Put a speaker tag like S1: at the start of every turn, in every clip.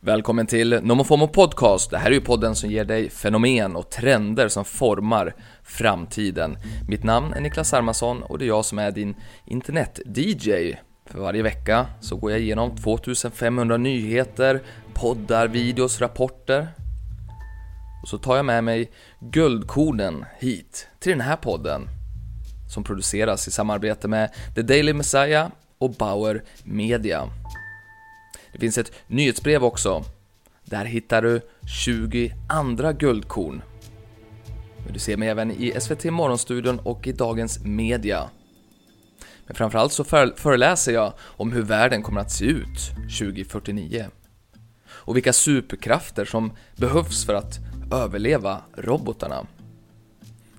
S1: Välkommen till NomoFomo Podcast. Det här är ju podden som ger dig fenomen och trender som formar framtiden. Mitt namn är Niklas Hermansson och det är jag som är din internet-DJ. För varje vecka så går jag igenom 2500 nyheter, poddar, videos, rapporter. Och så tar jag med mig guldkornen hit, till den här podden som produceras i samarbete med The Daily Messiah och Bauer Media. Det finns ett nyhetsbrev också. Där hittar du 20 andra guldkorn. Men Du ser mig även i SVT Morgonstudion och i Dagens Media. Men framförallt så före- föreläser jag om hur världen kommer att se ut 2049. Och vilka superkrafter som behövs för att överleva robotarna.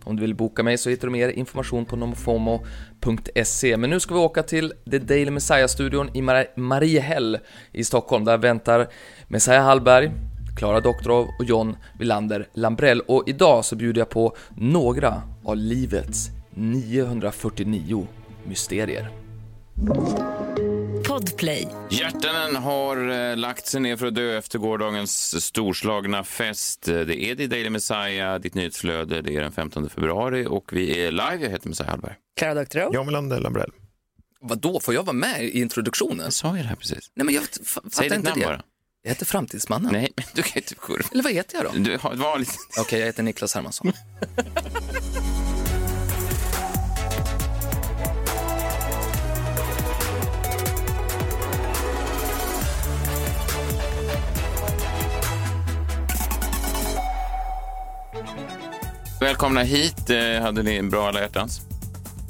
S1: Om du vill boka mig så hittar du mer information på nomofomo.se. Men nu ska vi åka till The Daily Messiah-studion i Mar- Mariehäll i Stockholm. Där väntar Messiah Hallberg, Klara Doktorov och John Wilander Lambrell. Och idag så bjuder jag på några av livets 949 mysterier.
S2: Podplay.
S3: Hjärtanen har eh, lagt sig ner för att dö efter gårdagens storslagna fest. Eh, Det är The Daily Messiah, ditt nyhetsflöde. Det är den 15 februari och vi är live. Jag heter Messiah Hallberg.
S2: Klara Doktorow.
S4: John Melander Lambrell.
S1: Vadå, får jag vara med i introduktionen?
S3: Jag sa ju det här precis.
S1: Nej men jag f- fattar
S3: Säg ditt
S1: inte
S3: namn
S1: det.
S3: bara.
S1: Jag heter Framtidsmannen.
S3: Nej, men du kan inte... kurva.
S1: Eller vad heter jag då?
S3: Du har ett vanligt...
S1: Okej, jag heter Niklas Hermansson.
S3: Välkomna hit. Eh, Hade ni en bra alla hjärtans?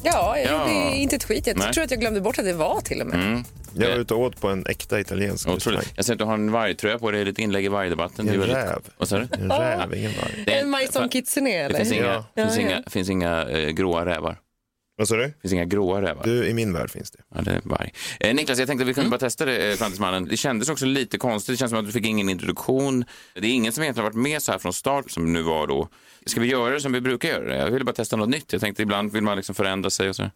S5: Ja, jag
S3: Ja.
S5: gjorde inte ett skit. Jag
S3: Nej.
S5: tror att jag glömde bort att det var till och med.
S4: Jag var
S3: Eh.
S4: ute och åt på en äkta italiensk
S3: Otroligt. Jag ser att du har en vargtröja på dig. Ditt inlägg i vargdebatten.
S4: En
S3: Du är väldigt-
S4: räv.
S3: Vad sa du?
S4: En räv, ingen varg.
S3: Det är-
S5: En Majson Kitsune,
S3: Det finns
S5: eller?
S3: inga,
S4: Ja.
S3: finns
S5: Ja, ja.
S3: inga, finns inga eh, gråa rävar.
S4: Vad sa du?
S3: Det finns inga gråa rävar.
S4: Du, i min värld finns det.
S3: Ja, det är varg. Eh, Niklas, jag tänkte att vi kunde bara testa det, eh, Framtidsmannen. Det kändes också lite konstigt. Det känns som att du fick ingen introduktion. Det är ingen som egentligen har varit med så här från start som nu var då. Ska vi göra det som vi brukar göra? Jag ville bara testa något nytt. Jag tänkte ibland vill man liksom förändra sig och så.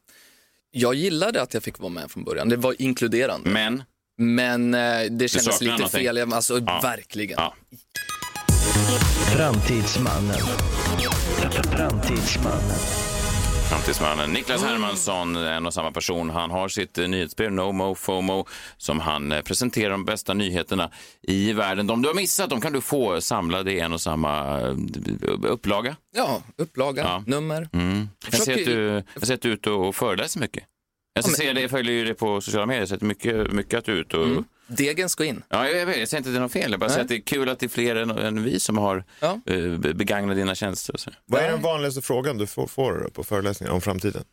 S1: Jag gillade att jag fick vara med från början. Det var inkluderande.
S3: Men,
S1: Men eh, det kändes
S3: Mm. saknar
S1: lite
S3: någonting.
S1: fel. Jag- Alltså, verkligen.
S3: ja.
S6: Framtidsmannen. Framtidsmannen.
S3: Framtidsmannen Niklas Hermansson, en och samma person. Han har sitt eh, nyhetsbrev No Mo FOMO som han eh, presenterar de bästa nyheterna i världen. De du har missat, de kan du få samlade i en och samma eh, upplaga.
S1: Ja, upplaga,
S3: Ja.
S1: nummer.
S3: Mm. Jag, ser
S1: försöker-
S3: att du, jag ser att du är ute och föreläser mycket. Jag, ser det, jag följer ju det på sociala medier, så att mycket, mycket att du är ute och...
S1: Mm. Degen ska in.
S3: Ja, jag, vet, jag säger inte att det är något fel, jag bara säger att det är kul att det är fler än, än vi som har
S1: Ja.
S3: eh, be- begagnat dina tjänster. Och så.
S4: Vad är den vanligaste frågan du får, får på föreläsningar om framtiden?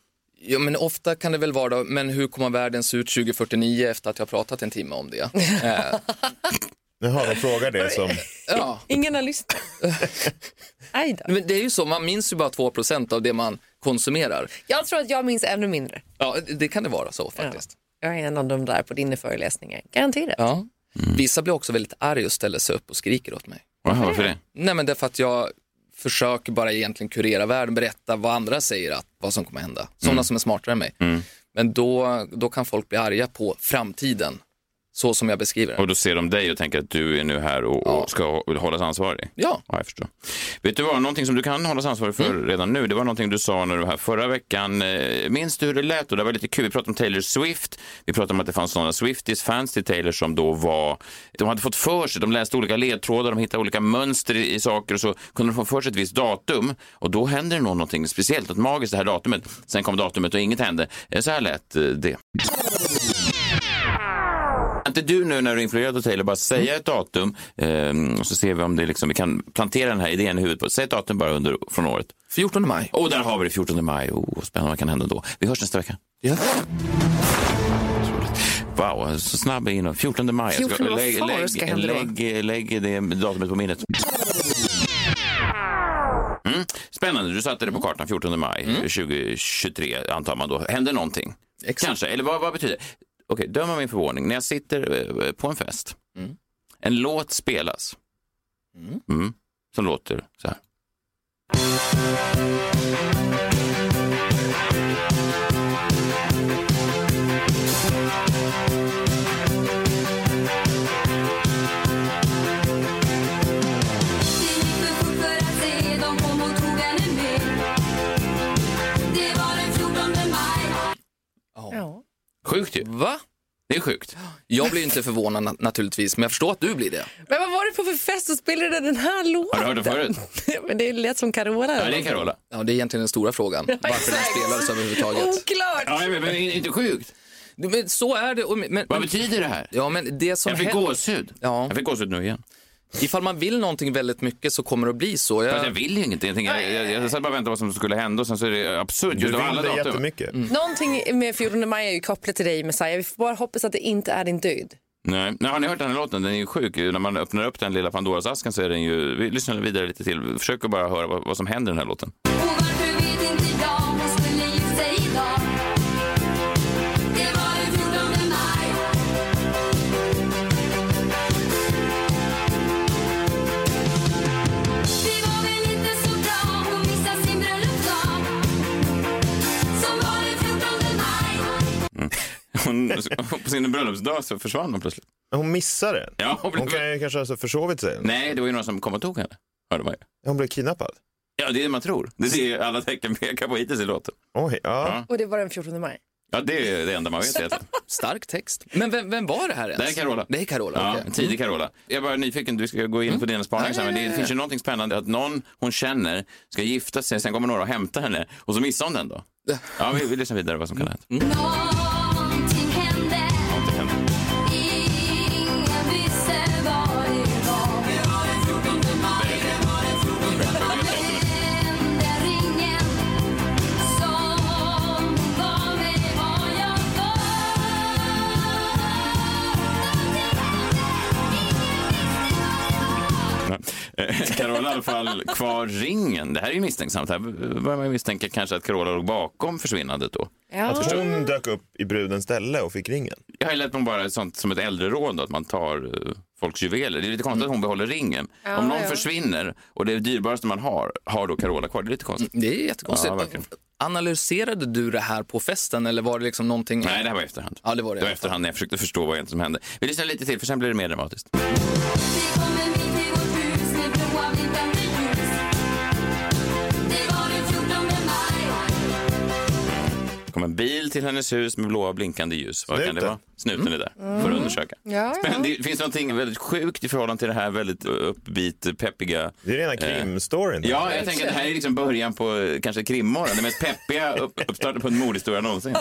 S1: Ja, men ofta kan det väl vara då, men hur kommer världen se ut 2049 efter att jag har pratat en timme om det? Eh,
S4: Jaha, de frågar det som...
S1: ja.
S5: Ingen har lyssnat. Aj då.
S1: Men det är ju så, man minns ju bara 2 av det man konsumerar.
S5: Jag tror att jag minns ännu mindre.
S1: Ja, det kan det vara så faktiskt.
S5: Jag är en av de där på dina föreläsningar. Garanterat.
S1: Ja.
S3: Mm.
S1: Vissa blir också väldigt arga och ställer sig upp och skriker åt mig.
S3: Wow, varför det?
S1: Nej, men därför att jag försöker bara egentligen kurera världen, berätta vad andra säger, att, vad som kommer hända. Sådana
S3: Mm.
S1: som är smartare än mig. Men då, då kan folk bli arga på framtiden, så som jag beskriver den.
S3: Och då ser de dig och tänker att du är nu här och, och ska hållas ansvarig.
S1: Ja,
S3: Ja, jag förstår. Vet du vad, någonting som du kan hållas ansvarig för redan nu, det var någonting du sa när du var här förra veckan. Eh, Minns du hur det lät? Och det var lite kul. Vi pratade om Taylor Swift. Vi pratade om att det fanns sådana Swifties, fans till Taylor, som då var... De hade fått för sig, de läste olika ledtrådar, de hittade olika mönster i, i saker och så kunde de få för sig ett visst datum. Och då hände det nog någonting speciellt, något magiskt det här datumet. Sen kom datumet och inget hände. Eh, Så här lät eh, det. Kan inte du nu när du är influerad av Taylor bara säga ett datum ehm, och så ser vi om det liksom, vi kan plantera den här idén i huvudet på Säg ett datum bara under, från året.
S1: 14 maj.
S3: Och där har vi det 14 maj. Oh, vad spännande, vad kan hända då? Vi hörs nästa vecka.
S1: Ja.
S3: Wow, så snabb jag är inne. 14 maj. Jag
S5: 14, vad
S3: lägg,
S5: fan
S3: lägg,
S5: ska hända då?
S3: lägg, lägg det datumet på minnet. Mm. Spännande, du satte det på kartan 14 maj 2023 antar man då. Händer någonting?
S1: Exakt.
S3: Kanske, eller vad, vad betyder det? Okej, döm av min förvåning. När jag sitter eh, på en fest,
S1: Mm.
S3: en låt spelas
S1: Mm.
S3: Mm. som låter så här.
S1: Va?
S3: Det är sjukt.
S1: Jag blir inte förvånad na- naturligtvis, men jag förstår att du blir det.
S5: Men vad var det på för fest och spelade den här låten?
S3: Har du hört den förut?
S5: Men det lät som Carola.
S3: Ja, det är Carola.
S1: Ja, det är egentligen den stora frågan. Varför den
S5: exakt.
S1: spelades överhuvudtaget.
S5: Oklart!
S3: Ja, men, men inte sjukt.
S1: Men så är det. och- Men,
S3: Vad
S1: men,
S3: betyder det här?
S1: ja, men det som
S3: Jag fick
S1: händer,
S3: gåshud.
S1: Ja.
S3: Jag fick gåshud nu igen.
S1: ifall man vill någonting väldigt mycket så kommer det att bli så. Jag,
S3: Fast jag vill ju ingenting. Jag, tänker, jag, jag, jag satt bara och väntade vad som skulle hända och sen så är det absurt.
S4: Du
S3: Just av
S4: vill
S3: alla
S4: det
S3: datum. Mm.
S4: jättemycket.
S5: Någonting med 14 maj är ju kopplat till dig Messiah. Vi får bara hoppas att det inte är din död.
S3: Nej. Nej, har ni hört den här låten? Den är ju sjuk. När man öppnar upp den lilla Pandoras asken så är den ju... Vi lyssnar vidare lite till. Försök att bara höra vad, vad som händer i den här låten.
S7: Och varför vet inte jag, hon skulle gift sig idag Det var den 14 maj Det var väl inte så bra, hon missade sin bröllopsdag Som var den 14 maj
S3: Hon, på sin bröllopsdag så försvann hon plötsligt.
S4: Hon missar den.
S3: Ja, hon blev...
S4: Hon kan ju kanske ha alltså försovit sig.
S3: Nej, det var ju någon som kom och tog henne. Hörde man ju.
S4: Hon blev kidnappad.
S3: Ja, det är det man tror. Det ser ju alla tecken pekar på hittills i låten.
S4: Oj, ja.
S3: Ja.
S5: Och det var den 14 maj.
S3: Ja, det är det enda man vet egentligen.
S1: stark text. Men vem, vem var det här ens?
S3: Det här är Carola.
S1: Det är Carola,
S3: Ja,
S1: okej. Mm.
S3: en tidig Carola. Jag är bara nyfiken, du ska gå in på dina spaningar sen, men det finns ju någonting spännande att någon hon känner ska gifta sig, sen kommer några och hämtar henne och så missar hon den då. Ja, vi, vi lyssnar vidare vad som kan ha hänt.
S7: Någonting hände Ingen visste vad det var Det var den 14 maj Det var den 14 maj Den ringen som var mig var jag
S3: Eh, Carola i alla fall kvar ringen. Det här är ju misstänksamt. Här börjar man ju misstänka kanske att Carola låg bakom försvinnandet då.
S5: Ja.
S4: Hon dök upp i brudens ställe och fick ringen.
S3: Jag har ju lärt mig bara ett sånt som ett äldre råd då, att man tar eh, folks juveler. Det är lite konstigt att hon behåller ringen. Om någon
S5: ja.
S3: försvinner och det är det dyrbaraste man har, har då Carola kvar. Det är lite konstigt.
S1: Det är jättekonstigt.
S3: Ja, verkligen.
S1: Analyserade du det här på festen eller var det liksom någonting?
S3: Nej, det här var i efterhand.
S1: Ja, det var det.
S3: Det var i efterhand när jag försökte förstå vad egentligen som hände. Vi lyssnar lite till, för sen blir det mer dramatiskt.
S7: Vi kommer mitt i vårt hus med blåa blinkande ljus Det var den 14 maj
S3: kom en bil till hennes hus med blåa blinkande ljus. Vad kan det
S4: Snuten.
S3: vara? Snuten är där för att undersöka.
S5: Ja, ja.
S3: Men det finns någonting väldigt sjukt i förhållande till det här väldigt eh, uppbit, peppiga.
S4: Det är rena krimstoryn.
S3: Eh, Ja, jag tänker att det här är liksom början på eh, kanske krimmorgon. Den mest peppiga upp, uppstarten på en mordhistoria någonsin.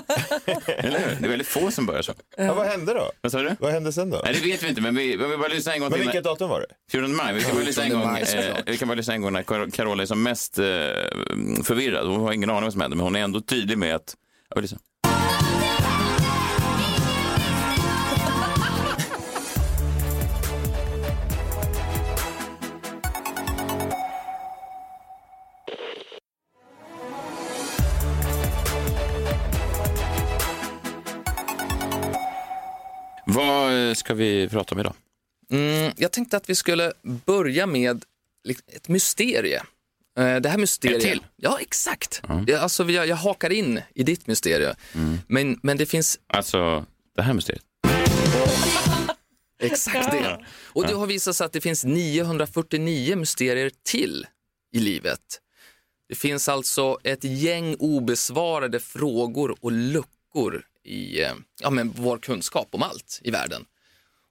S3: Eller hur? Det är väldigt få som börjar så.
S4: ja, vad hände då?
S3: Vad sa du?
S4: Vad hände sen då?
S3: Nej, det vet vi inte, men vi, vi bara lyssnar en gång
S4: Men
S3: till.
S4: vilket datum var det?
S3: 14 maj. Vi kan bara lyssna en
S1: 14
S3: gång,
S1: maj,
S3: eh,
S1: såklart.
S3: vi kan bara lyssna en gång när Car- Carola är som mest eh, förvirrad. Hon har ingen aning om vad som händer, men hon är ändå tydlig med att... Ja, vi lyssnar. Vad eh, ska vi prata om idag?
S1: Mm, jag tänkte att vi skulle börja med lik- ett mysterie. Eh, Det här mysteriet.
S3: Ett till?
S1: Ja, exakt. Jag, alltså, vi- jag, jag hakar in i ditt mysterium.
S3: Mm.
S1: Men, men det finns
S3: Alltså, det här mysteriet.
S1: exakt det. Och det har visat sig att det finns 949 mysterier till i livet. Det finns alltså ett gäng obesvarade frågor och luckor i eh, ja, men vår kunskap om allt i världen.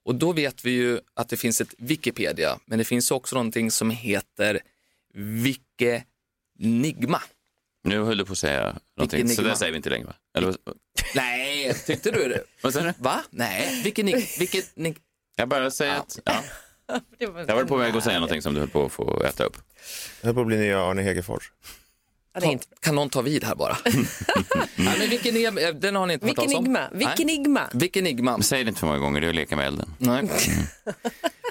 S1: Och då vet vi ju att det finns ett Wikipedia, men det finns också någonting som heter Wikenigma.
S3: Nu höll du på att säga någonting, så
S1: enigma?
S3: där säger vi inte längre va? Eller, vad-
S1: Nej, tyckte du det?
S3: vad säger du?
S1: Va? Nej, Wikenig... Wikenig...
S3: Jag bara säger att... Ja.
S5: Det var,
S3: Jag var på väg att säga någonting som du höll på att få äta upp.
S4: Jag höll på att bli nya Arne Hegerfors.
S5: Ja, det är inte.
S1: Kan någon ta vid här bara? Nej, men Wikenigma, den har ni inte hört
S5: Vilken
S1: talas om?
S5: igma. Vilken
S1: Nej.
S5: igma.
S1: Wikenigma.
S3: Säg det inte för många gånger, det är att leka med elden.
S1: Nej.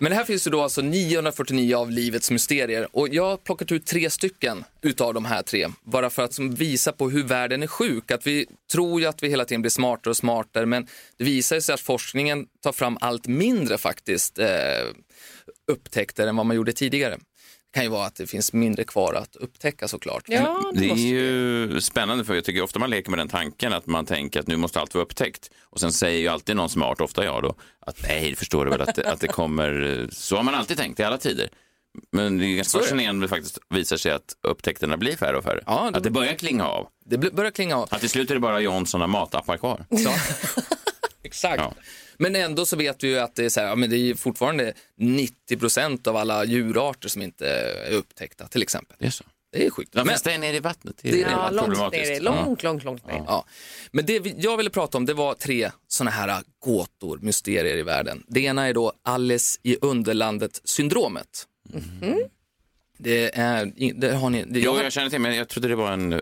S1: Men här finns ju då alltså 949 av livets mysterier och jag har plockat ut tre stycken utav de här tre. Bara för att som visa på hur världen är sjuk. Att vi tror ju att vi hela tiden blir smartare och smartare men det visar ju sig att forskningen tar fram allt mindre faktiskt eh, upptäckter än vad man gjorde tidigare. Det kan ju vara att det finns mindre kvar att upptäcka såklart.
S5: Ja, det
S3: Det är
S5: måste...
S3: ju spännande för jag tycker ofta man leker med den tanken att man tänker att nu måste allt vara upptäckt. Och sen säger ju alltid någon smart, ofta jag då, att nej, det förstår du väl att det, att det kommer, eh, så har man alltid tänkt i alla tider. Men det är ju ganska
S1: är det.
S3: fascinerande när det faktiskt visar sig att upptäckterna blir färre och färre.
S1: Ja, det-
S3: Att det börjar klinga av.
S1: Det börjar klinga av.
S3: Att till slut är det bara Johnson och matappar kvar.
S1: Ja. Exakt.
S3: Ja.
S1: Men ändå så vet vi ju att det är, så här, ja, men det är ju fortfarande 90 procent av alla djurarter som inte är upptäckta till exempel.
S3: Det är så.
S1: Det är sjukt.
S3: De
S1: Men,
S3: flesta är nere i vattnet.
S1: Det
S3: Det
S1: är
S3: är
S5: Ja, långt
S3: problematiskt.
S5: ner.
S3: Ja.
S5: Långt, långt, långt ner.
S1: ja. men det vi- jag ville prata om det var tre sådana här gåtor, mysterier i världen. Det ena är då Alice i Underlandet-syndromet. Det, är, det har ni... Det, jag
S3: Jo,
S1: har-
S3: jag känner till, men jag trodde det var en,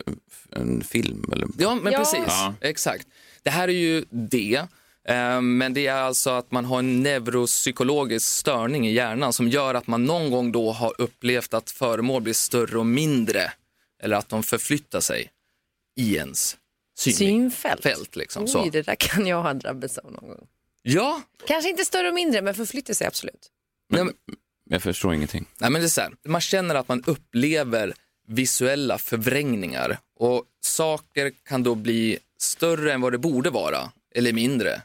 S3: en film. Eller...
S1: Ja, men
S5: Ja.
S1: precis.
S3: Ja.
S1: Exakt. Det här är ju det. eh, Men det är alltså att man har en neuropsykologisk störning i hjärnan som gör att man någon gång då har upplevt att föremål blir större och mindre eller att de förflyttar sig i ens synfält.
S5: Synfält.
S1: liksom, så.
S5: Oj, det där kan jag ha drabbats av någon gång.
S1: Ja,
S5: Kanske inte större och mindre, men förflyttar sig absolut.
S1: nej, men,
S3: Jag förstår ingenting.
S1: nej, men det är så här. man känner att man upplever visuella förvrängningar och saker kan då bli större än vad det borde vara eller mindre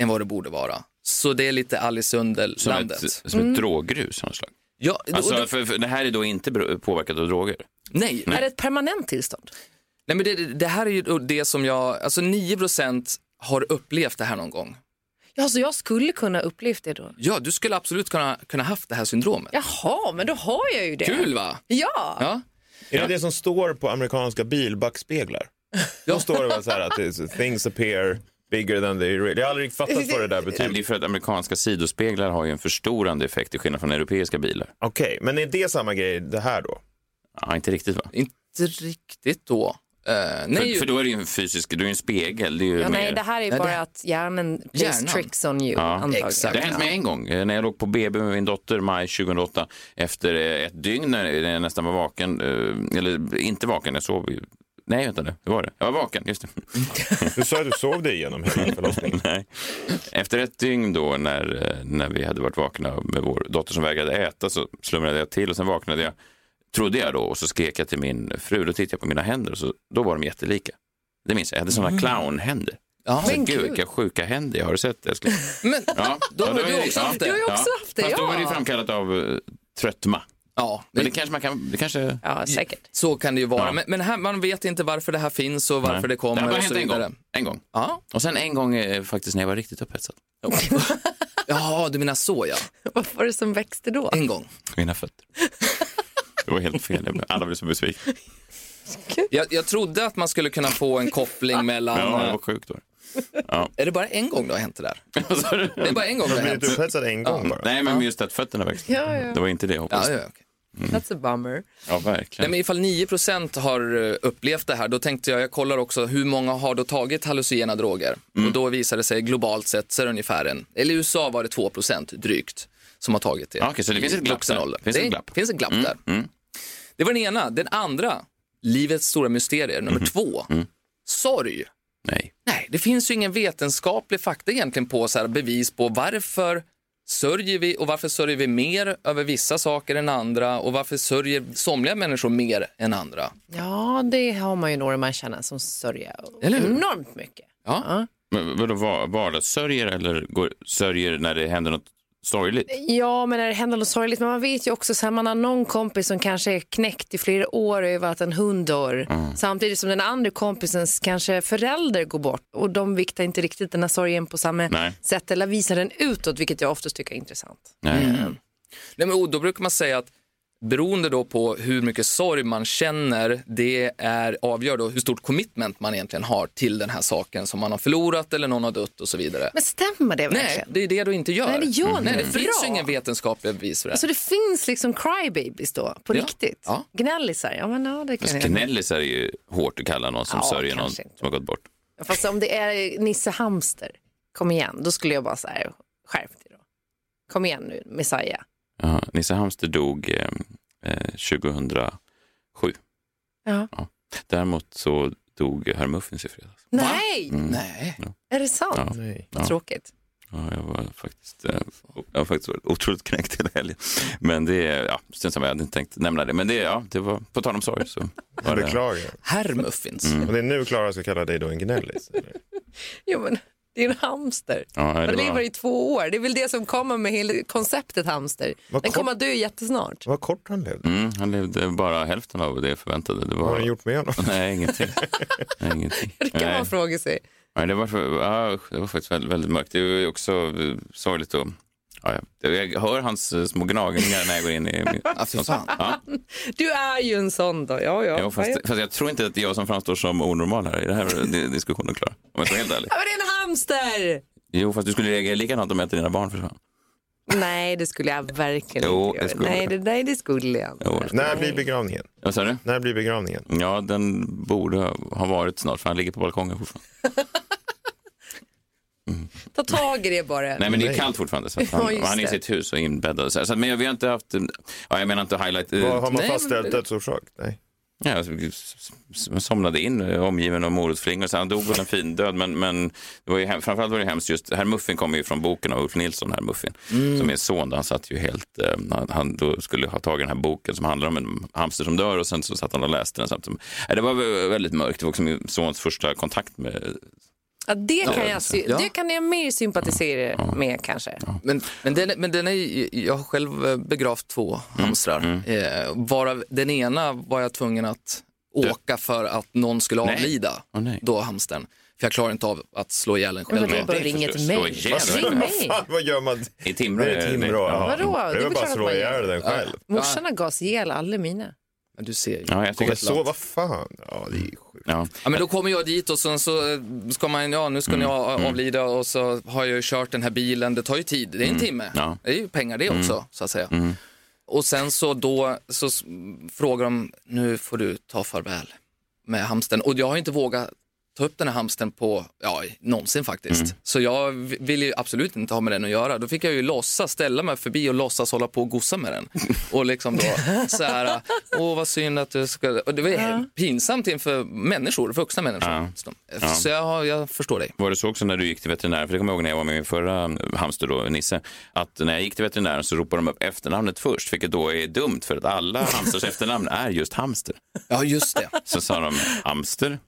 S1: än vad det borde vara. Så det är lite Alice under
S3: Som
S1: landet.
S3: ett, som
S5: Mm.
S3: ett droggrus av något slag.
S1: Ja, och- och,
S3: Alltså, för, Mm. för det här är då inte bero- påverkat av droger.
S1: nej,
S5: Är det ett permanent tillstånd?
S1: nej, men det, det här är ju då det som jag, alltså 9% har upplevt det här någon gång.
S5: Ja, så jag skulle kunna upplevt det då?
S1: Ja, du skulle absolut kunna, kunna haft det här syndromet.
S5: Jaha, men då har jag ju det.
S1: Kul va?
S5: Ja,
S1: Ja.
S4: Är det det som står på amerikanska bilbackspeglar? Då står det väl så här att det är- things appear bigger than they really... Jag har aldrig fattat vad det där
S3: Nej, men Det
S4: betyder.
S3: är för att amerikanska sidospeglar har ju en förstorande effekt till skillnad från europeiska bilar.
S4: Okej, men är det samma grej det här då?
S3: Ja, inte riktigt va?
S1: Inte riktigt då. Eh, nej,
S3: För, för då är det ju en fysisk, då är det ju en spegel. Det, är ju
S5: Ja,
S3: mer...
S5: nej, det här är ju
S1: Nej, det-
S5: bara att hjärnan plays
S1: Hjärnan.
S5: tricks on you. antagligen.
S1: exakt.
S3: Det har hänt mig en gång eh, när jag låg på BB med min dotter maj 2008 efter eh, ett dygn när när jag nästan var vaken, eh, eller inte vaken, jag sov ju. Nej, vänta nu, hur var det? Jag var vaken, just det.
S4: Du sa att du sov dig igenom hela förlossningen.
S3: Nej. Efter ett dygn då när, eh, när vi hade varit vakna med vår dotter som vägrade äta så slumrade jag till och sen vaknade jag, trodde jag då, och så skrek jag till min fru. Då tittade jag på mina händer och så, då var de jättelika. Det minns jag, jag hade sådana clownhänder.
S1: Ja.
S3: Men
S5: Men
S3: gud
S5: gud.
S3: vilka sjuka händer, jag har du sett älskling?
S1: Men,
S3: Ja,
S1: Då
S3: ja,
S1: har
S3: det
S1: du
S3: var ju-
S1: också
S3: ja,
S1: haft det. Jag har ju
S5: också haft det,
S3: Fast då
S5: ja.
S3: var det ju framkallat av eh, tröttma.
S1: ja,
S3: Men det kanske man kan, det kanske...
S5: Ja, säkert.
S1: så kan det ju vara.
S3: Ja.
S1: Men, men här, man vet inte varför det här finns och varför
S3: Nej.
S1: det
S3: har
S1: kommer
S3: bara
S1: och så
S3: hänt en
S1: vidare.
S3: gång. En gång.
S1: Ja.
S3: Och sen en gång eh, faktiskt när jag var riktigt upphetsad.
S1: ja, du menar så ja.
S5: Vad var det som växte då?
S1: En gång.
S3: Mina fötter. Det var helt fel, Jag blev- alla blev så besvikna.
S1: Jag, jag trodde att man skulle kunna få en koppling mellan...
S3: Ja, Mm. jag
S1: eh,
S3: var sjuk då.
S1: Är det bara en gång då har hänt det där?
S3: Vad sa du?
S1: Det är bara en gång det har
S4: Blev
S1: hänt.
S4: du upphetsad en gång bara?
S3: Nej, men just att fötterna växte.
S5: Ja, ja.
S3: Det var inte det jag
S1: Ja,
S3: hoppades.
S1: ja,
S3: Ja,
S1: okej.
S5: That's a bummer.
S1: Nej,
S3: verkligen.
S1: men ifall 9 har eh, upplevt det här, då tänkte jag, jag kollar också hur många har då tagit hallucinogena droger?
S3: Mm.
S1: Och då visade det sig globalt sett så är det ungefär en, eller i USA var det 2 drygt som har tagit det.
S3: Ja, Ah, okej, så det
S1: i
S3: finns ett glapp
S1: vuxen
S3: där.
S1: ålder.
S3: Finns
S1: det
S3: ett
S1: är-
S3: glapp. Mm,
S1: finns ett glapp där. Det var den ena. Den andra, livets stora mysterier, nummer
S3: Mhm.
S1: två,
S3: Mm.
S1: sorg.
S3: Nej.
S1: Nej, det finns ju ingen vetenskaplig fakta egentligen på så här, bevis på varför sörjer vi och varför sörjer vi mer över vissa saker än andra och varför sörjer somliga människor mer än andra?
S5: Ja, det har man ju några man känner som sörjer
S1: Eller hur?
S5: enormt mycket.
S1: Ja.
S3: Men vadå, var- vardagssörjer eller går, sörjer när det händer något sorgligt?
S5: Ja, men när det händer något sorgligt. Men man vet ju också så här, man har någon kompis som kanske är knäckt i flera år över att en hund dör.
S1: Mm.
S5: Samtidigt som den andra kompisens kanske förälder går bort. Och de viktar inte riktigt den här sorgen på samma
S3: Nej.
S5: sätt. Eller visar den utåt, vilket jag oftast tycker är intressant.
S3: Nej.
S1: Nej, men, och då brukar man säga att beroende då på hur mycket sorg man känner, det är, avgör då hur stort commitment man egentligen har till den här saken som man har förlorat eller någon har dött och så vidare.
S5: Men stämmer det verkligen?
S1: Nej, det är det du inte gör. Mm.
S5: Nej, det gör
S1: Nej, det
S5: det.
S1: finns ju
S5: Bra.
S1: ingen vetenskaplig bevis för det.
S5: Så det finns liksom crybabies då, på
S1: Ja.
S5: riktigt?
S1: Ja. Alltså,
S5: Gnällisar, ja men ja, det kan
S3: Fast
S5: jag.
S3: gnällis är ju hårt att kalla någon som
S5: Ja,
S3: sörjer någon
S5: kanske inte.
S3: som har gått bort.
S5: Fast om det är Nisse Hamster, kom igen, då skulle jag bara så här, skärp dig då. Kom igen nu, Messiah.
S3: Ja, Nisse Hamster dog eh, eh, 2007.
S5: Ja.
S3: Däremot så dog Herr Muffins i fredags.
S5: Nej,
S1: Nej.
S5: är det sant?
S3: Ja.
S4: Nej.
S5: Vad
S3: Ja.
S5: Tråkigt.
S3: Ja, jag var faktiskt, eh, o- jag har faktiskt varit otroligt knäckt hela helgen. Men det, är- ja, strunt samma, jag hade inte tänkt nämna det. Men det, ja, det var, på tal om sorg så var
S4: Jag
S3: det...
S4: beklagar.
S1: Herr Muffins.
S4: Och det är nu Klara ska kalla dig då en gnällis? eller?
S5: Jo men, det är en hamster.
S3: Ja, det
S5: Den
S3: var-
S5: lever i två år, det är väl det som kommer med hela konceptet hamster.
S4: Vad
S5: Den
S4: kom-
S5: kommer att dö jättesnart.
S4: Vad kort han blev.
S3: Mm, han levde bara hälften av det jag förväntade. Det
S4: Vad har
S3: var...
S4: du gjort med honom?
S3: Nej, ingenting. Nej, ingenting.
S5: Det kan
S3: Nej.
S5: man fråga sig.
S3: Ja, det, var, för- ja, det var faktiskt väldigt, väldigt mörkt. Det är ju också eh, sorgligt. Och, ja, jag, jag hör hans eh, små gnagningar när jag går in i...
S1: Ja, fy fan.
S3: Ja,
S5: Du är ju en sån då. Ja, ja.
S3: jo, fast, fast jag tror inte att jag som framstår som onormal här i den här di- diskussionen, Klara. Om jag ska vara helt ärlig.
S5: Ja, men det är en hamster!
S3: Jo, fast du skulle reagera likadant om jag inte dina barn försvann.
S5: Nej, det skulle jag verkligen
S3: Jo,
S5: inte
S3: det
S5: göra.
S3: skulle
S5: Nej,
S3: jag.
S5: det, nej, det skulle jag inte.
S3: Jo,
S4: När blir begravningen?
S3: Vad sa du?
S4: När blir begravningen?
S3: Ja, den borde ha varit snart, för han ligger på balkongen fortfarande.
S5: Ta tag i det bara.
S3: Nej, men det är kallt fortfarande. Så att han,
S5: Ja, just
S3: han är i
S5: det.
S3: sitt hus och inbäddad. och Så här. Så, att- men jag, vi har inte haft... eh, Ja, jag menar inte highlight. eh,
S4: Vad har man
S1: Nej, men-
S4: fastställt dödsorsak? Nej.
S3: Ja, jag s- s- somnade in eh, omgiven av morotsflingor. Så han dog väl en fin död, men, men det var ju hem, framförallt var det hemskt just, herr Muffin kommer ju från boken av Ulf Nilsson, herr Muffin,
S4: Mm.
S3: som är son. Han satt ju helt, eh, han, han då skulle ha tagit den här boken som handlar om en hamster som dör och sen så satt han och läste den samtidigt. Nej, Det var vä- väldigt mörkt, det var också min sons första kontakt med,
S5: Ja, det, kan jag, sy-
S1: Ja.
S5: det kan jag mer sympatisera med kanske.
S1: Men, men, den, men den är, jag har själv eh, begravt två
S3: Mm.
S1: hamstrar. Eh, varav den ena var jag tvungen att åka för att någon skulle
S3: Nej.
S1: avlida.
S3: Åh, nej.
S1: Då hamstern. För jag klarar inte av att slå ihjäl den själv.
S5: Men
S3: det
S5: du bara
S3: är
S5: ringer
S3: förstås.
S5: till mig.
S3: Slå ihjäl den.
S5: Ring mig.
S4: Vad gör man?
S3: i Timrå.
S4: Det är Timrå.
S3: Ja.
S4: Ja.
S5: Vadå?
S4: Det
S5: Det
S4: är
S5: är
S4: väl
S5: klart
S4: bara
S5: att
S4: slå
S5: man gör.
S4: ihjäl den själv.
S5: Morsan har gas ihjäl alla mina.
S1: Men Du ser ju.
S3: Ja, jag tycker
S4: Men så, vad fan? Ja, det är sjukt.
S3: Ja.
S1: Ja, men då kommer jag dit och sen så eh, ska man, ja nu ska
S3: Mm.
S1: ni a- avlida och så har jag ju kört den här bilen, det tar ju tid, det är en timme.
S3: Mm. Ja. Mm.
S1: Det är ju pengar det också så att säga. Och sen så då så s- frågar de, nu får du ta farväl med hamsten. Och jag har inte vågat ta upp den här hamsten på, ja någonsin faktiskt. Så jag v- vill ju absolut inte ha med den att göra. Då fick jag ju låtsas ställa mig förbi och låtsas hålla på och gossa med den. Och liksom då så här, åh vad synd att du ska... Och det var ju pinsamt inför människor, vuxna människor. Så de- Så jag, har- jag förstår dig.
S3: Var det så också när du gick till veterinären? För det kommer jag ihåg när jag var med min förra hamster då, Nisse. Att när jag gick till veterinären så ropade de upp efternamnet först, vilket då är dumt för att alla hamsters efternamn är just hamster.
S1: Ja just det,
S3: Så sa de hamster,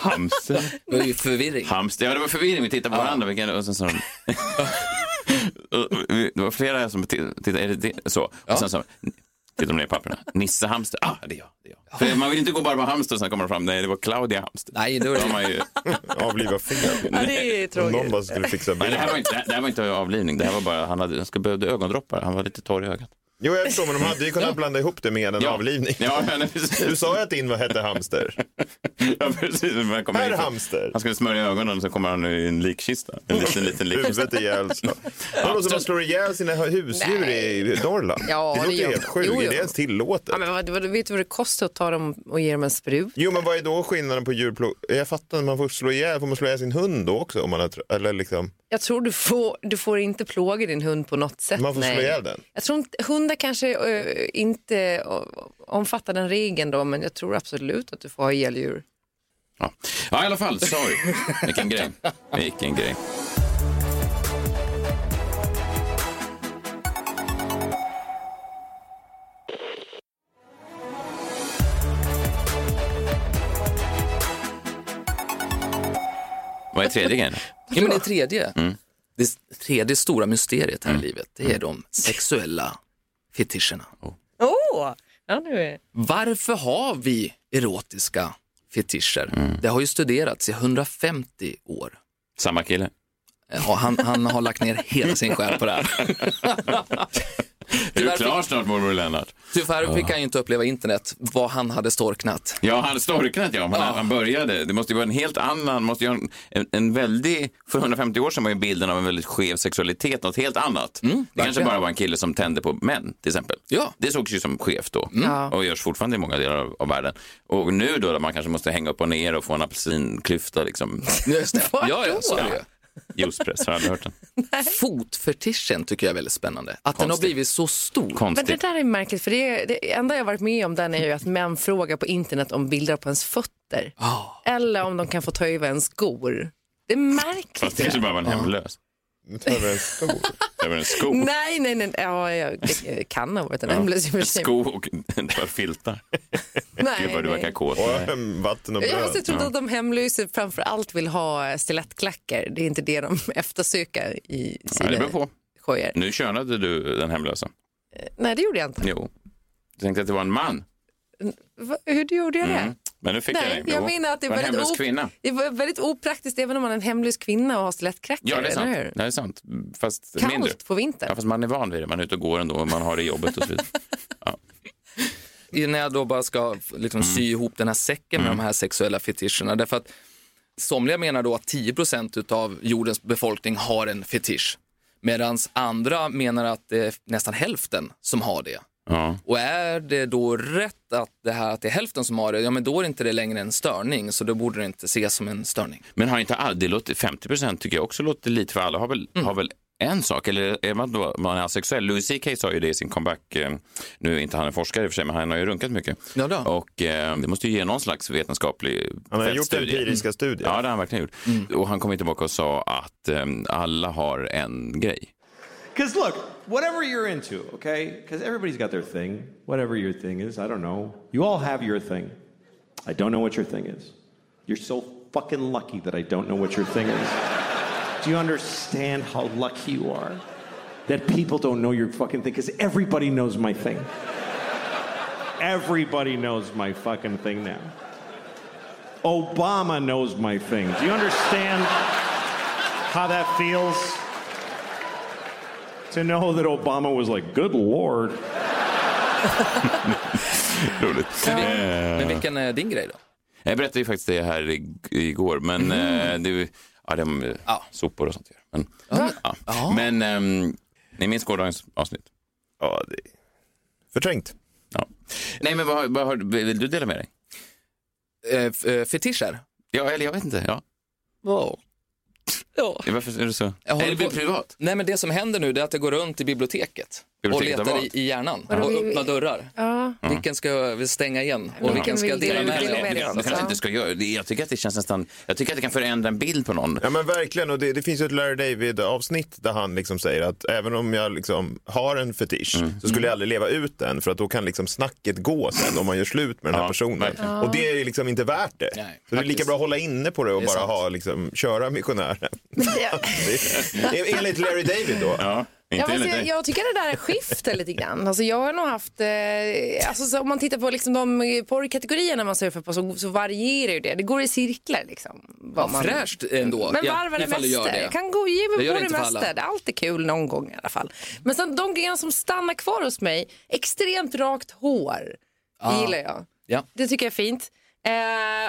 S3: hamster,
S1: det var ju förvirring.
S3: hamster. Ja, det var förvirring. Vi tittade på varandra. Vilken, och sen sa de... Och vi- det var flera som ti- tittade, är det det? Så. Och sen sa de, tittade de ner i papperna. Nisse hamster, ah det är jag. Det är jag. För man vill inte gå bara på hamster och sen kommer de fram, nej det var Claudia hamster.
S1: Nej, det var
S3: Då har man ju...
S4: Avliva fel.
S5: Ja, det är
S4: Om
S5: tråkigt.
S4: någon bara skulle fixa
S3: Nej, det,
S4: bilden.
S3: här var inte, det här var inte avlivning. Det här var bara, han, hade, han ska- behövde ögondroppar. Han var lite torr i ögat.
S4: Jo, jag förstår, men de hade ju kunnat blanda ihop det med en avlivning.
S3: Ja, men,
S4: Du
S3: precis.
S4: sa ju att din var hette hamster.
S3: Ja, precis. Men han kom
S4: Herr
S3: in så-
S4: hamster. Oh.
S3: Han skulle smörja ögonen och så kommer han i en likkista. En liten, liten likkista.
S4: Huvudet ihjäl. slå. Det låter som man slår ihjäl sina husdjur i Norrland.
S5: Ja,
S4: det
S5: det
S4: låter
S5: gör
S4: helt
S5: man.
S4: sjukt.
S5: Jo,
S4: Är
S5: jo.
S4: det ens tillåtet?
S5: Ja, men vad, vad, vet du vad det kostar att ta dem och ge dem en sprut?
S4: Jo, men vad är då skillnaden på djurplåg? Jag fattar, man får slå ihjäl, får man slå ihjäl sin hund då också? Om man har, tr- eller liksom,
S5: Jag tror du får, du får inte plåga din hund på något sätt.
S4: man får
S5: nej.
S4: slå ihjäl den?
S5: Jag tror inte, hundar kanske eh, inte eh, omfattar den regeln då, men jag tror absolut att du får ha ihjäl djur.
S3: Ja. ja, i alla fall. Sorry. Vilken grej. Vilken grej. Vad är tredje grejen?
S1: Ja, men det tredje, det s- tredje stora mysteriet här i livet, det är de sexuella fetischerna.
S5: Åh! Ja, nu är...
S1: Varför har vi erotiska fetischer? Det har ju studerats i 150 år.
S3: Samma kille.
S1: Ja, han, han har lagt ner hela sin själ på det här.
S3: Är du
S1: Tyvärr
S3: klar snart morbror Lennart?
S1: Tyvärr fick han ju inte uppleva internet, vad han hade storknat.
S3: Ja, han storknat ja, men
S1: Ja.
S3: han- han började. Det måste ju vara en helt annan, måste ju ha en, en, en väldig, för 150 år sedan var ju bilden av en väldigt skev sexualitet något helt annat. det kanske
S1: Mm, verkligen.
S3: bara var en kille som tände på män till exempel.
S1: Ja. Mm.
S3: Det sågs ju som skevt då
S5: Ja.
S3: och görs fortfarande i många delar av, av världen. Och nu då, där man kanske måste hänga upp och ner och få en apelsinklyfta liksom.
S1: Just det.
S5: Vart
S1: Ja, ja, så är det ju.
S3: Juicepress, har jag aldrig hört den.
S1: Fotfetischen tycker jag är väldigt spännande. Att den har
S3: Konstigt.
S1: blivit så stor.
S5: Men det
S3: Konstigt.
S5: där är märkligt, för det, det enda jag varit med om den är ju att män frågar på internet om bilder på ens fötter. Eller om de kan få ta över ens skor. Det är
S3: Fast
S5: märkligt.
S3: det kanske bara var en hemlös.
S4: Nu tar vi en stor.
S3: Det var en sko.
S5: Nej, nej, nej. Ja, jag, det kan ha varit en hemlös i och för
S3: En
S5: sig.
S3: sko och ett par filtar.
S5: Nej,
S3: Gud vad du
S5: nej.
S3: verkar kåt.
S4: Och ähm, vatten och
S5: Jag har
S4: bröd.
S5: alltid trott att de hemlösa framför allt vill ha stilettklackar. Det är inte det de eftersöker i
S3: Ja, det
S5: sina
S3: beror på.
S5: skojar.
S3: Nu könade du den hemlösa.
S5: Nej, det gjorde jag inte.
S3: Jo. Du tänkte att det var en man. Mm.
S5: Va, hur gjorde jag det?
S3: Men nu fick jag
S5: Nej,
S3: det.
S5: jag
S3: Jo.
S5: menar att det är,
S3: var en
S5: väldigt
S3: hemlös kvinna.
S5: det var väldigt opraktiskt även om man är en hemlös kvinna och har stilettkräckor.
S3: Ja, det är sant.
S5: eller hur?
S3: Det är sant. Fast
S5: Kallt
S3: mindre.
S5: på vintern.
S3: Ja, fast man är van vid det. Man är ute och går ändå och man har det i jobbet och så vidare. Ja.
S1: innan jag då bara ska liksom sy ihop den här säcken med de här sexuella fetischerna. Därför att somliga menar då att 10 av jordens befolkning har en fetisch. Medan andra menar att det är nästan hälften som har det.
S3: Ja.
S1: Och är det då rätt att det, här, att det är hälften som har det, ja men då är inte det längre en störning, så då borde det inte ses som en störning.
S3: Men har inte all, det låter, 50 procent tycker jag också låter lite, för alla har väl, har väl en sak, eller är man då man är asexuell? Louis CK sa ju det i sin comeback, eh, nu är inte han en forskare i och för sig, men han har ju runkat mycket.
S1: Ja då.
S3: Och eh, det måste ju ge någon slags vetenskaplig
S4: Han har gjort
S3: fältstudie.
S4: empiriska studier.
S3: Ja, det har han verkligen gjort. Och han kom ju tillbaka och sa att eh, alla har en grej.
S8: Because look, whatever you're into, okay? Because everybody's got their thing. Whatever your thing is, I don't know. You all have your thing. I don't know what your thing is. You're so fucking lucky that I don't know what your thing is. Do you understand how lucky you are that people don't know your fucking thing? Because everybody knows my thing. Everybody knows my fucking thing now. Obama knows my thing. Do you understand how that feels? to know that Obama was like, good lord.
S3: Roligt. Eh.
S1: Men vilken är din grej då?
S3: Jag berättade ju faktiskt det här i- igår, men eh, det, ja, det är ja. sopor och sånt. Men, ja. men ehm, ni minns gårdagens avsnitt?
S4: Ja, det... Förträngt.
S3: Ja. Nej, men vad, vad har, vill du dela med dig?
S1: Eh, f- eh, fetischer?
S3: Ja, eller jag vet inte. Ja.
S1: Wow. Ja.
S3: Varför är du så?
S1: Jag håller
S3: Eller blir
S1: på-
S3: privat?
S1: Nej men det som händer nu det är att jag går runt i biblioteket,
S3: Biblioteket Mm.
S1: och
S3: av
S1: letar
S3: vad?
S1: i, i hjärnan
S5: Ja.
S1: och öppnar dörrar.
S5: Ja.
S1: Vilken ska jag stänga igen och
S5: Vilken
S1: vilken ska jag
S5: vill
S1: dela
S5: du
S1: med
S5: dela
S1: mig
S5: med dig
S1: av?
S5: av?
S3: Det kanske inte ska göra. Det- Jag tycker att det känns nästan... Jag tycker att det kan förändra en bild på någon.
S4: Ja men verkligen, och det, det finns ju ett Larry David-avsnitt där han liksom säger att även om jag liksom har en fetisch
S3: Mm.
S4: så skulle jag aldrig leva ut den för att då kan liksom snacket gå sen om man gör slut med den här
S3: Ja,
S4: personen.
S3: verkligen.
S4: Och det är ju liksom inte värt det.
S1: Nej,
S4: så det är lika
S1: faktiskt.
S4: bra att hålla inne på det och
S1: Det är
S4: bara
S1: sant.
S4: ha, liksom, köra missionären. Det är- Enligt Larry David då.
S3: Ja,
S5: Ja,
S3: inte
S5: men
S3: enligt
S5: alltså, jag,
S3: dig.
S5: jag tycker det där skiftar lite grann. Alltså, jag har nog haft, eh, alltså, så, om man tittar på liksom, de eh, porrkategorierna man surfar på så, så varierar ju det. Det går i cirklar liksom. vad man-
S1: Fräscht ändå.
S5: Men
S1: ja,
S5: varva det
S1: ifall
S5: mesta.
S1: du gör det.
S5: Jag kan gå ge
S1: Jag
S5: mig
S1: gör
S5: på
S1: det
S5: det
S1: inte för alla.
S5: mesta. Det är alltid kul någon gång i alla fall. Men sen de grejerna som stannar kvar hos mig, extremt rakt hår, det gillar jag.
S1: Ja.
S5: Det tycker jag är fint. Eh,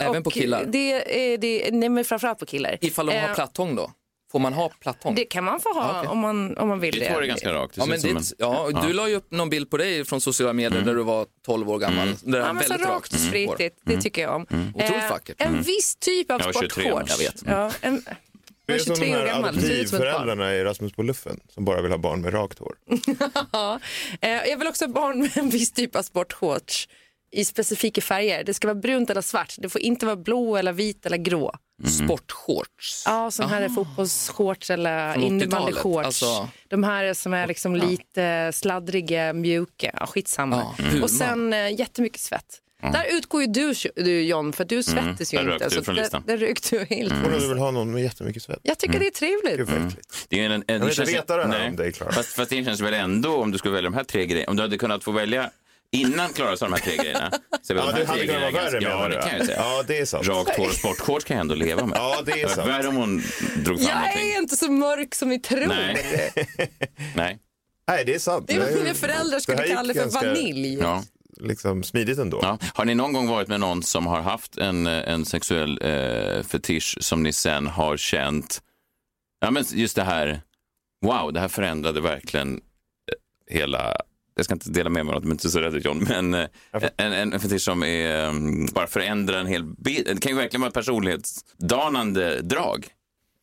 S1: Även på killar?
S5: Det, eh, det, nej, men framförallt på killar.
S1: Ifall de har Ah,
S5: Eh,
S1: plattång då? Får man ha plattång?
S5: Det kan man få ha om, man, om man vill
S3: Ditt hår är ganska rakt. Det
S1: Ja,
S3: ser
S1: men
S3: ut som en- Mm.
S1: ditt, ja, Du la ju upp någon bild på dig från sociala medier när du var 12 år gammal. Det där
S5: Ja, men så
S1: väldigt
S5: rakt och
S1: hår.
S5: spritigt, det tycker jag om.
S1: Mm.
S5: Eh,
S1: Otroligt vackert.
S5: En viss typ av
S3: Jag var 23
S5: sportshorts.
S3: jag vet.
S5: Ja, en,
S4: Det
S5: jag
S4: är
S5: är
S4: som de
S5: 23 år
S4: här
S5: gammal, det ser ut som ett barn.
S4: adoptivföräldrarna i Rasmus på luffen som bara vill ha barn med rakt hår.
S3: Mm.
S5: Ja. Eh, Jag vill också ha barn med en viss typ av sportshorts i specifika färger. Det ska vara brunt eller svart. Det får inte vara blå eller vit eller grå.
S3: Mm.
S1: Sportshorts.
S5: Ja, sån här är fotbollsshorts eller
S1: Ah. Från 80-talet,
S5: innebandyshorts.
S1: alltså.
S5: De här är som är liksom lite sladdriga, mjuka. Ja, skitsamma.
S1: Ja, puma.
S5: Och sen eh, jättemycket svett. Där utgår ju du, du John, för
S1: Mm.
S5: du svettas
S3: Där
S5: ju
S3: rökte
S5: inte.
S3: du från listan.
S5: där, där rökte du helt.
S4: Och du vill ha någon med jättemycket svett. Mm.
S5: Jag tycker det är
S1: Mm.
S5: trevligt.
S4: Gud, vad äckligt.
S3: Det är en, en,
S4: vill inte
S3: känns-
S4: veta det här
S3: nej.
S4: om dig, Clara.
S3: Fast, fast det känns väl ändå, om du skulle välja de här tre grejerna, om du hade kunnat få välja innan Klara sa de här tre grejerna. Så är väl
S4: Ja,
S3: de här tre
S4: det hade kunnat vara
S3: grejerna
S4: värre
S3: ganska-
S4: menar
S3: Ja,
S4: du?
S3: det kan jag ju säga.
S4: Ja, det är sant.
S3: Rakt hår och sportshorts kan jag ändå leva med.
S4: Ja, det är sant.
S3: Värre om hon drog fram
S5: Jag
S3: någonting.
S5: är inte så mörk som ni tror.
S3: Nej. Nej.
S4: Nej, det är sant.
S5: Det är
S4: Det
S5: vad
S4: är-
S5: mina föräldrar
S4: det
S5: skulle
S4: här gick
S5: kalla för
S4: ganska-
S5: vanilj.
S3: Ja.
S4: Liksom smidigt ändå.
S3: Ja. Har ni någon gång varit med någon som har haft en, eh, en sexuell eh, fetisch som ni sen har känt, ja men just det här, wow, det här förändrade verkligen eh, hela, jag ska inte dela med mig av något, men inte så rädd John, men eh, en, en, en fetisch som är, mm, bara förändrar en hel bild, det kan ju verkligen vara ett personlighetsdanande drag.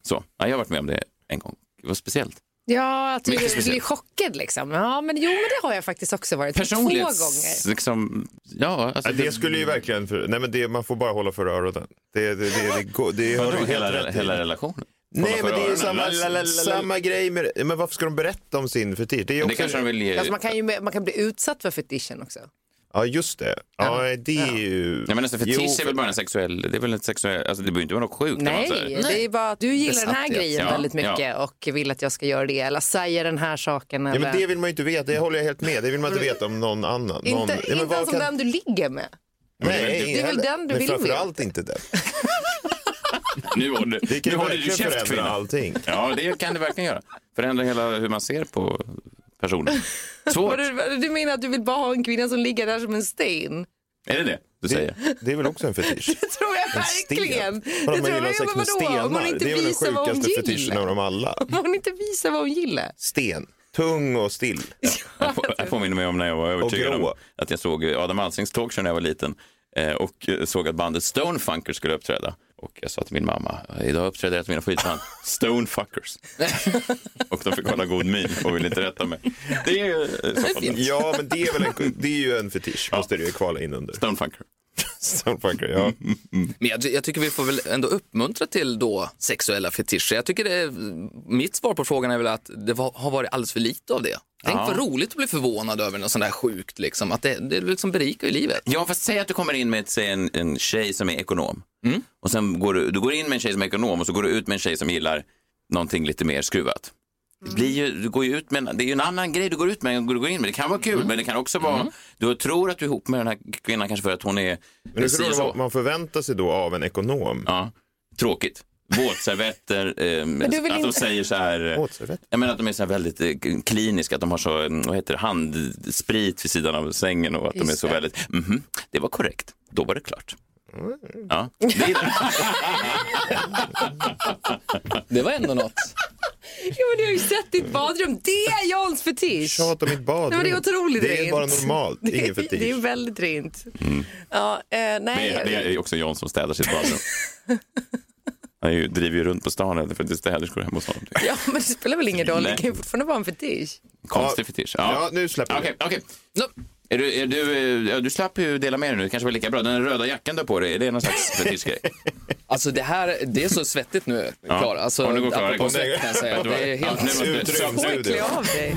S3: Så, ja, jag har varit med om det en gång, det var speciellt.
S5: Ja, att du
S3: Mycket
S5: blir
S3: speciellt.
S5: chockad liksom. Ja, men jo, men det har jag faktiskt också varit. Två gånger.
S3: Personlighets... Liksom, ja, alltså,
S4: Ja, det skulle ju verkligen... För, nej, men det, man får bara hålla för öronen. Det, det, det, det, det, går- det har
S3: Vadå,
S4: du helt
S3: hela,
S4: rätt i.
S3: hela relationen?
S4: Nej, men det är ju samma,
S3: Lalalala.
S4: samma grej med... Men varför ska de berätta om sin fetisch? Det är ju
S3: Det
S4: också,
S3: kanske de vill ge...
S5: Alltså, man, kan ju, man kan bli utsatt för fetischen också.
S4: Ja, just det. Ja, det är ju...
S3: Nej, men alltså, fetisch
S4: Jo,
S3: är väl bara en sexuell... Det är väl ett sexuell... Alltså, det behöver inte vara något sjukt. om man
S5: Nej,
S3: säger.
S5: det är bara att du gillar den här
S1: Besatthet.
S5: grejen
S3: Ja,
S5: väldigt mycket
S3: ja.
S5: och vill att jag ska göra det eller säga den här saken.
S4: Ja,
S5: Eller...
S4: men det vill man ju inte veta. Det håller jag helt med. Det vill man inte veta om någon annan. någon,
S5: Mm. Inte,
S4: Nej, men
S5: inte
S4: vad
S5: ens om den
S4: kan-
S5: du ligger med.
S4: Nej,
S5: Det är väl den du
S4: men
S5: vill
S4: framförallt inte den.
S3: Nu har du,
S4: Det
S3: nu
S4: kan ju
S3: har du ju
S4: verkligen
S3: käft,
S4: förändra
S3: kvinna.
S4: allting.
S3: Ja, det kan det verkligen göra. Förändra hela hur man ser på personen. Svårt.
S5: Vad du, vad du menar att du vill bara ha en kvinna som ligger där som en sten?
S3: Är det det du säger?
S4: Det, det är väl också en fetisch?
S5: Det tror jag
S4: En sten.
S5: verkligen.
S4: Vadå,
S5: Det
S4: man
S5: tror jag,
S4: gillar sex med
S5: vadå? Om hon
S4: stenar.
S5: inte
S4: Det är väl den
S5: visar vad hon
S4: sjukaste fetischen
S5: gillar.
S4: av dem alla.
S5: Om hon inte visar vad hon gillar.
S4: Sten. Tung och still.
S3: Jag på- jag påminner mig om när jag var övertygad
S4: grå.
S3: om att jag såg Adam Alsings talkshow när jag var liten eh, och eh, såg att bandet Stonefunkers skulle uppträda. Och jag sa till min mamma, idag uppträder ett av mina favoritband, Stonefuckers. och de fick hålla god min och ville inte rätta mig. Det är ju eh, så fall det.
S4: Ja, men det är, väl en, det är ju en fetisch. Måste det ju kvala in under.
S3: Stonefunker.
S4: Stonefucker, ja.
S1: Men jag, jag tycker vi får väl ändå uppmuntra till då sexuella fetischer. Jag tycker det, är- mitt svar på frågan är väl att det var, har varit alldeles för lite av det. Tänk
S3: Ja.
S1: vad roligt att bli förvånad över något sånt där sjukt liksom. Att det, det liksom berikar ju livet.
S3: Ja, fast säg att du kommer in med ett, säg en, en tjej som är ekonom.
S4: Mm.
S3: Och sen går du, du går in med en tjej som är ekonom och så går du ut med en tjej som gillar någonting lite mer skruvat. Det, blir ju, du går ju ut med, en- det är ju en annan grej du går ut med än du går in med. Det kan vara kul,
S4: Mm.
S3: men det kan också vara... Du tror att du är ihop med den här kvinnan kanske för att hon är...
S4: Men det tror
S3: precis
S4: jag
S3: så.
S4: vad man förväntar sig då av en ekonom.
S3: Ja, tråkigt. Våtservetter, ehm,
S5: du vill
S3: att de
S5: inte-
S3: säger så här... eh,
S4: Våtservett?
S3: Jag menar att de är så här väldigt eh, kliniska, att de har så, mm, vad heter det, handsprit vid sidan av sängen och att de är
S5: Just
S3: så
S5: det.
S3: väldigt, mhm, det var korrekt, då var det klart.
S5: Mm.
S3: Ja, det är,
S1: Det var ändå något.
S5: Ja, men du har ju sett ditt badrum. Det är Jans fetisch.
S4: Tjat om mitt badrum.
S5: Nej, men det är otroligt
S4: Det är
S5: rent.
S4: bara normalt,
S5: Det är-
S4: ingen fetisch.
S5: Det är väldigt rent. Ja, eh,
S3: det,
S5: nej.
S3: är, Mm. det är också John som städar sitt badrum. Han är ju, driver ju runt på stan för att det är städerskor hemma hos honom. Det är
S5: Ja, men det spelar väl ingen roll. Det
S3: Nej.
S5: kan ju fortfarande vara en fetisch.
S3: en Konstig fetisch. Ja.
S4: Ja, nu släpper vi.
S3: Okej, okej. Nå, Är du, är du, eh, ja, du slapp ju dela med dig nu, det kanske var lika bra. Den röda jackan du har på dig, är det någon slags fetischgrej?
S1: Alltså det här, det är så svettigt nu, Klara. Alltså,
S3: Ja, nu går Klara
S1: apropå
S3: igång.
S1: svett kan jag säga. Det är helt...
S3: Ja, nu var det-
S4: Utrymd,
S5: Så äcklig
S4: utrymd.
S5: av dig.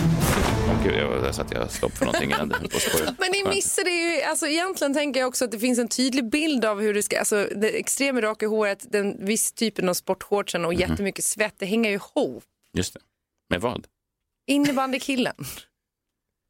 S3: Åh, Gud, jag var där så att jag stopp för någonting innan det höll på att spåra ur.
S5: Men ni missar det ju, alltså egentligen tänker jag också att det finns en tydlig bild av hur du ska, alltså det extrema raka håret, den viss typen av sportshortsen
S3: Mhm.
S5: och jättemycket svett, det hänger ju ihop.
S3: Just det. Med vad?
S5: innebandykillen.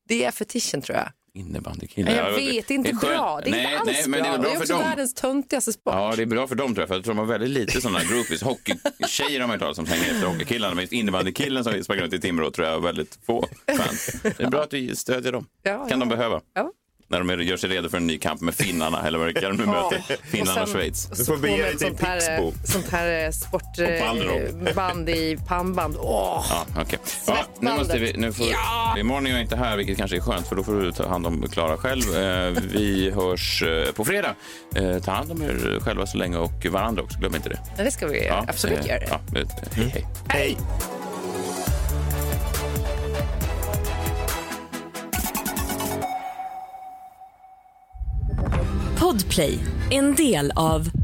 S5: Det är fetischen tror jag.
S3: Innebandykille.
S5: jag
S3: Ja, det-
S5: vet, det är inte
S3: det är skönt.
S5: bra. Det är
S3: nej,
S5: inte alls
S3: nej, men
S5: bra.
S3: Det är,
S5: också
S3: väl bra för dem.
S5: världens töntigaste sport.
S3: Ja, det är bra för dem tror jag, för jag tror de har väldigt lite sådana groupies. Hockeytjejer har man hört talas om som hänger efter hockeykillarna, men innebandykillen som sprang runt i Timrå tror jag har väldigt få fans. Det är bra att du stödjer dem.
S5: Ja,
S3: kan de
S5: ja.
S3: behöva.
S5: Ja.
S3: När de är- gör sig redo för en ny kamp med finnarna, eller vad det kan de möter. Finnarna och Schweiz.
S4: Du
S5: så
S4: får
S5: på
S4: bege
S5: med
S4: dig till
S5: sånt här,
S4: Pixbo.
S5: Sånt här eh, sport,
S3: Pallerock.
S5: eh, band i pannband. Åh,
S3: Ja, okej. Ja, nu måste vi, nu får, Imorgon är jag inte här, vilket kanske är skönt, för då får du ta hand om Klara själv. Eh, vi hörs eh, på fredag. Eh, ta hand om er själva så länge och varandra också. Glöm inte det.
S5: det ska vi
S3: Ja,
S5: absolut
S3: eh,
S5: göra.
S3: Ja, eh, hej, hej.
S5: Hej!
S9: Podplay, en del av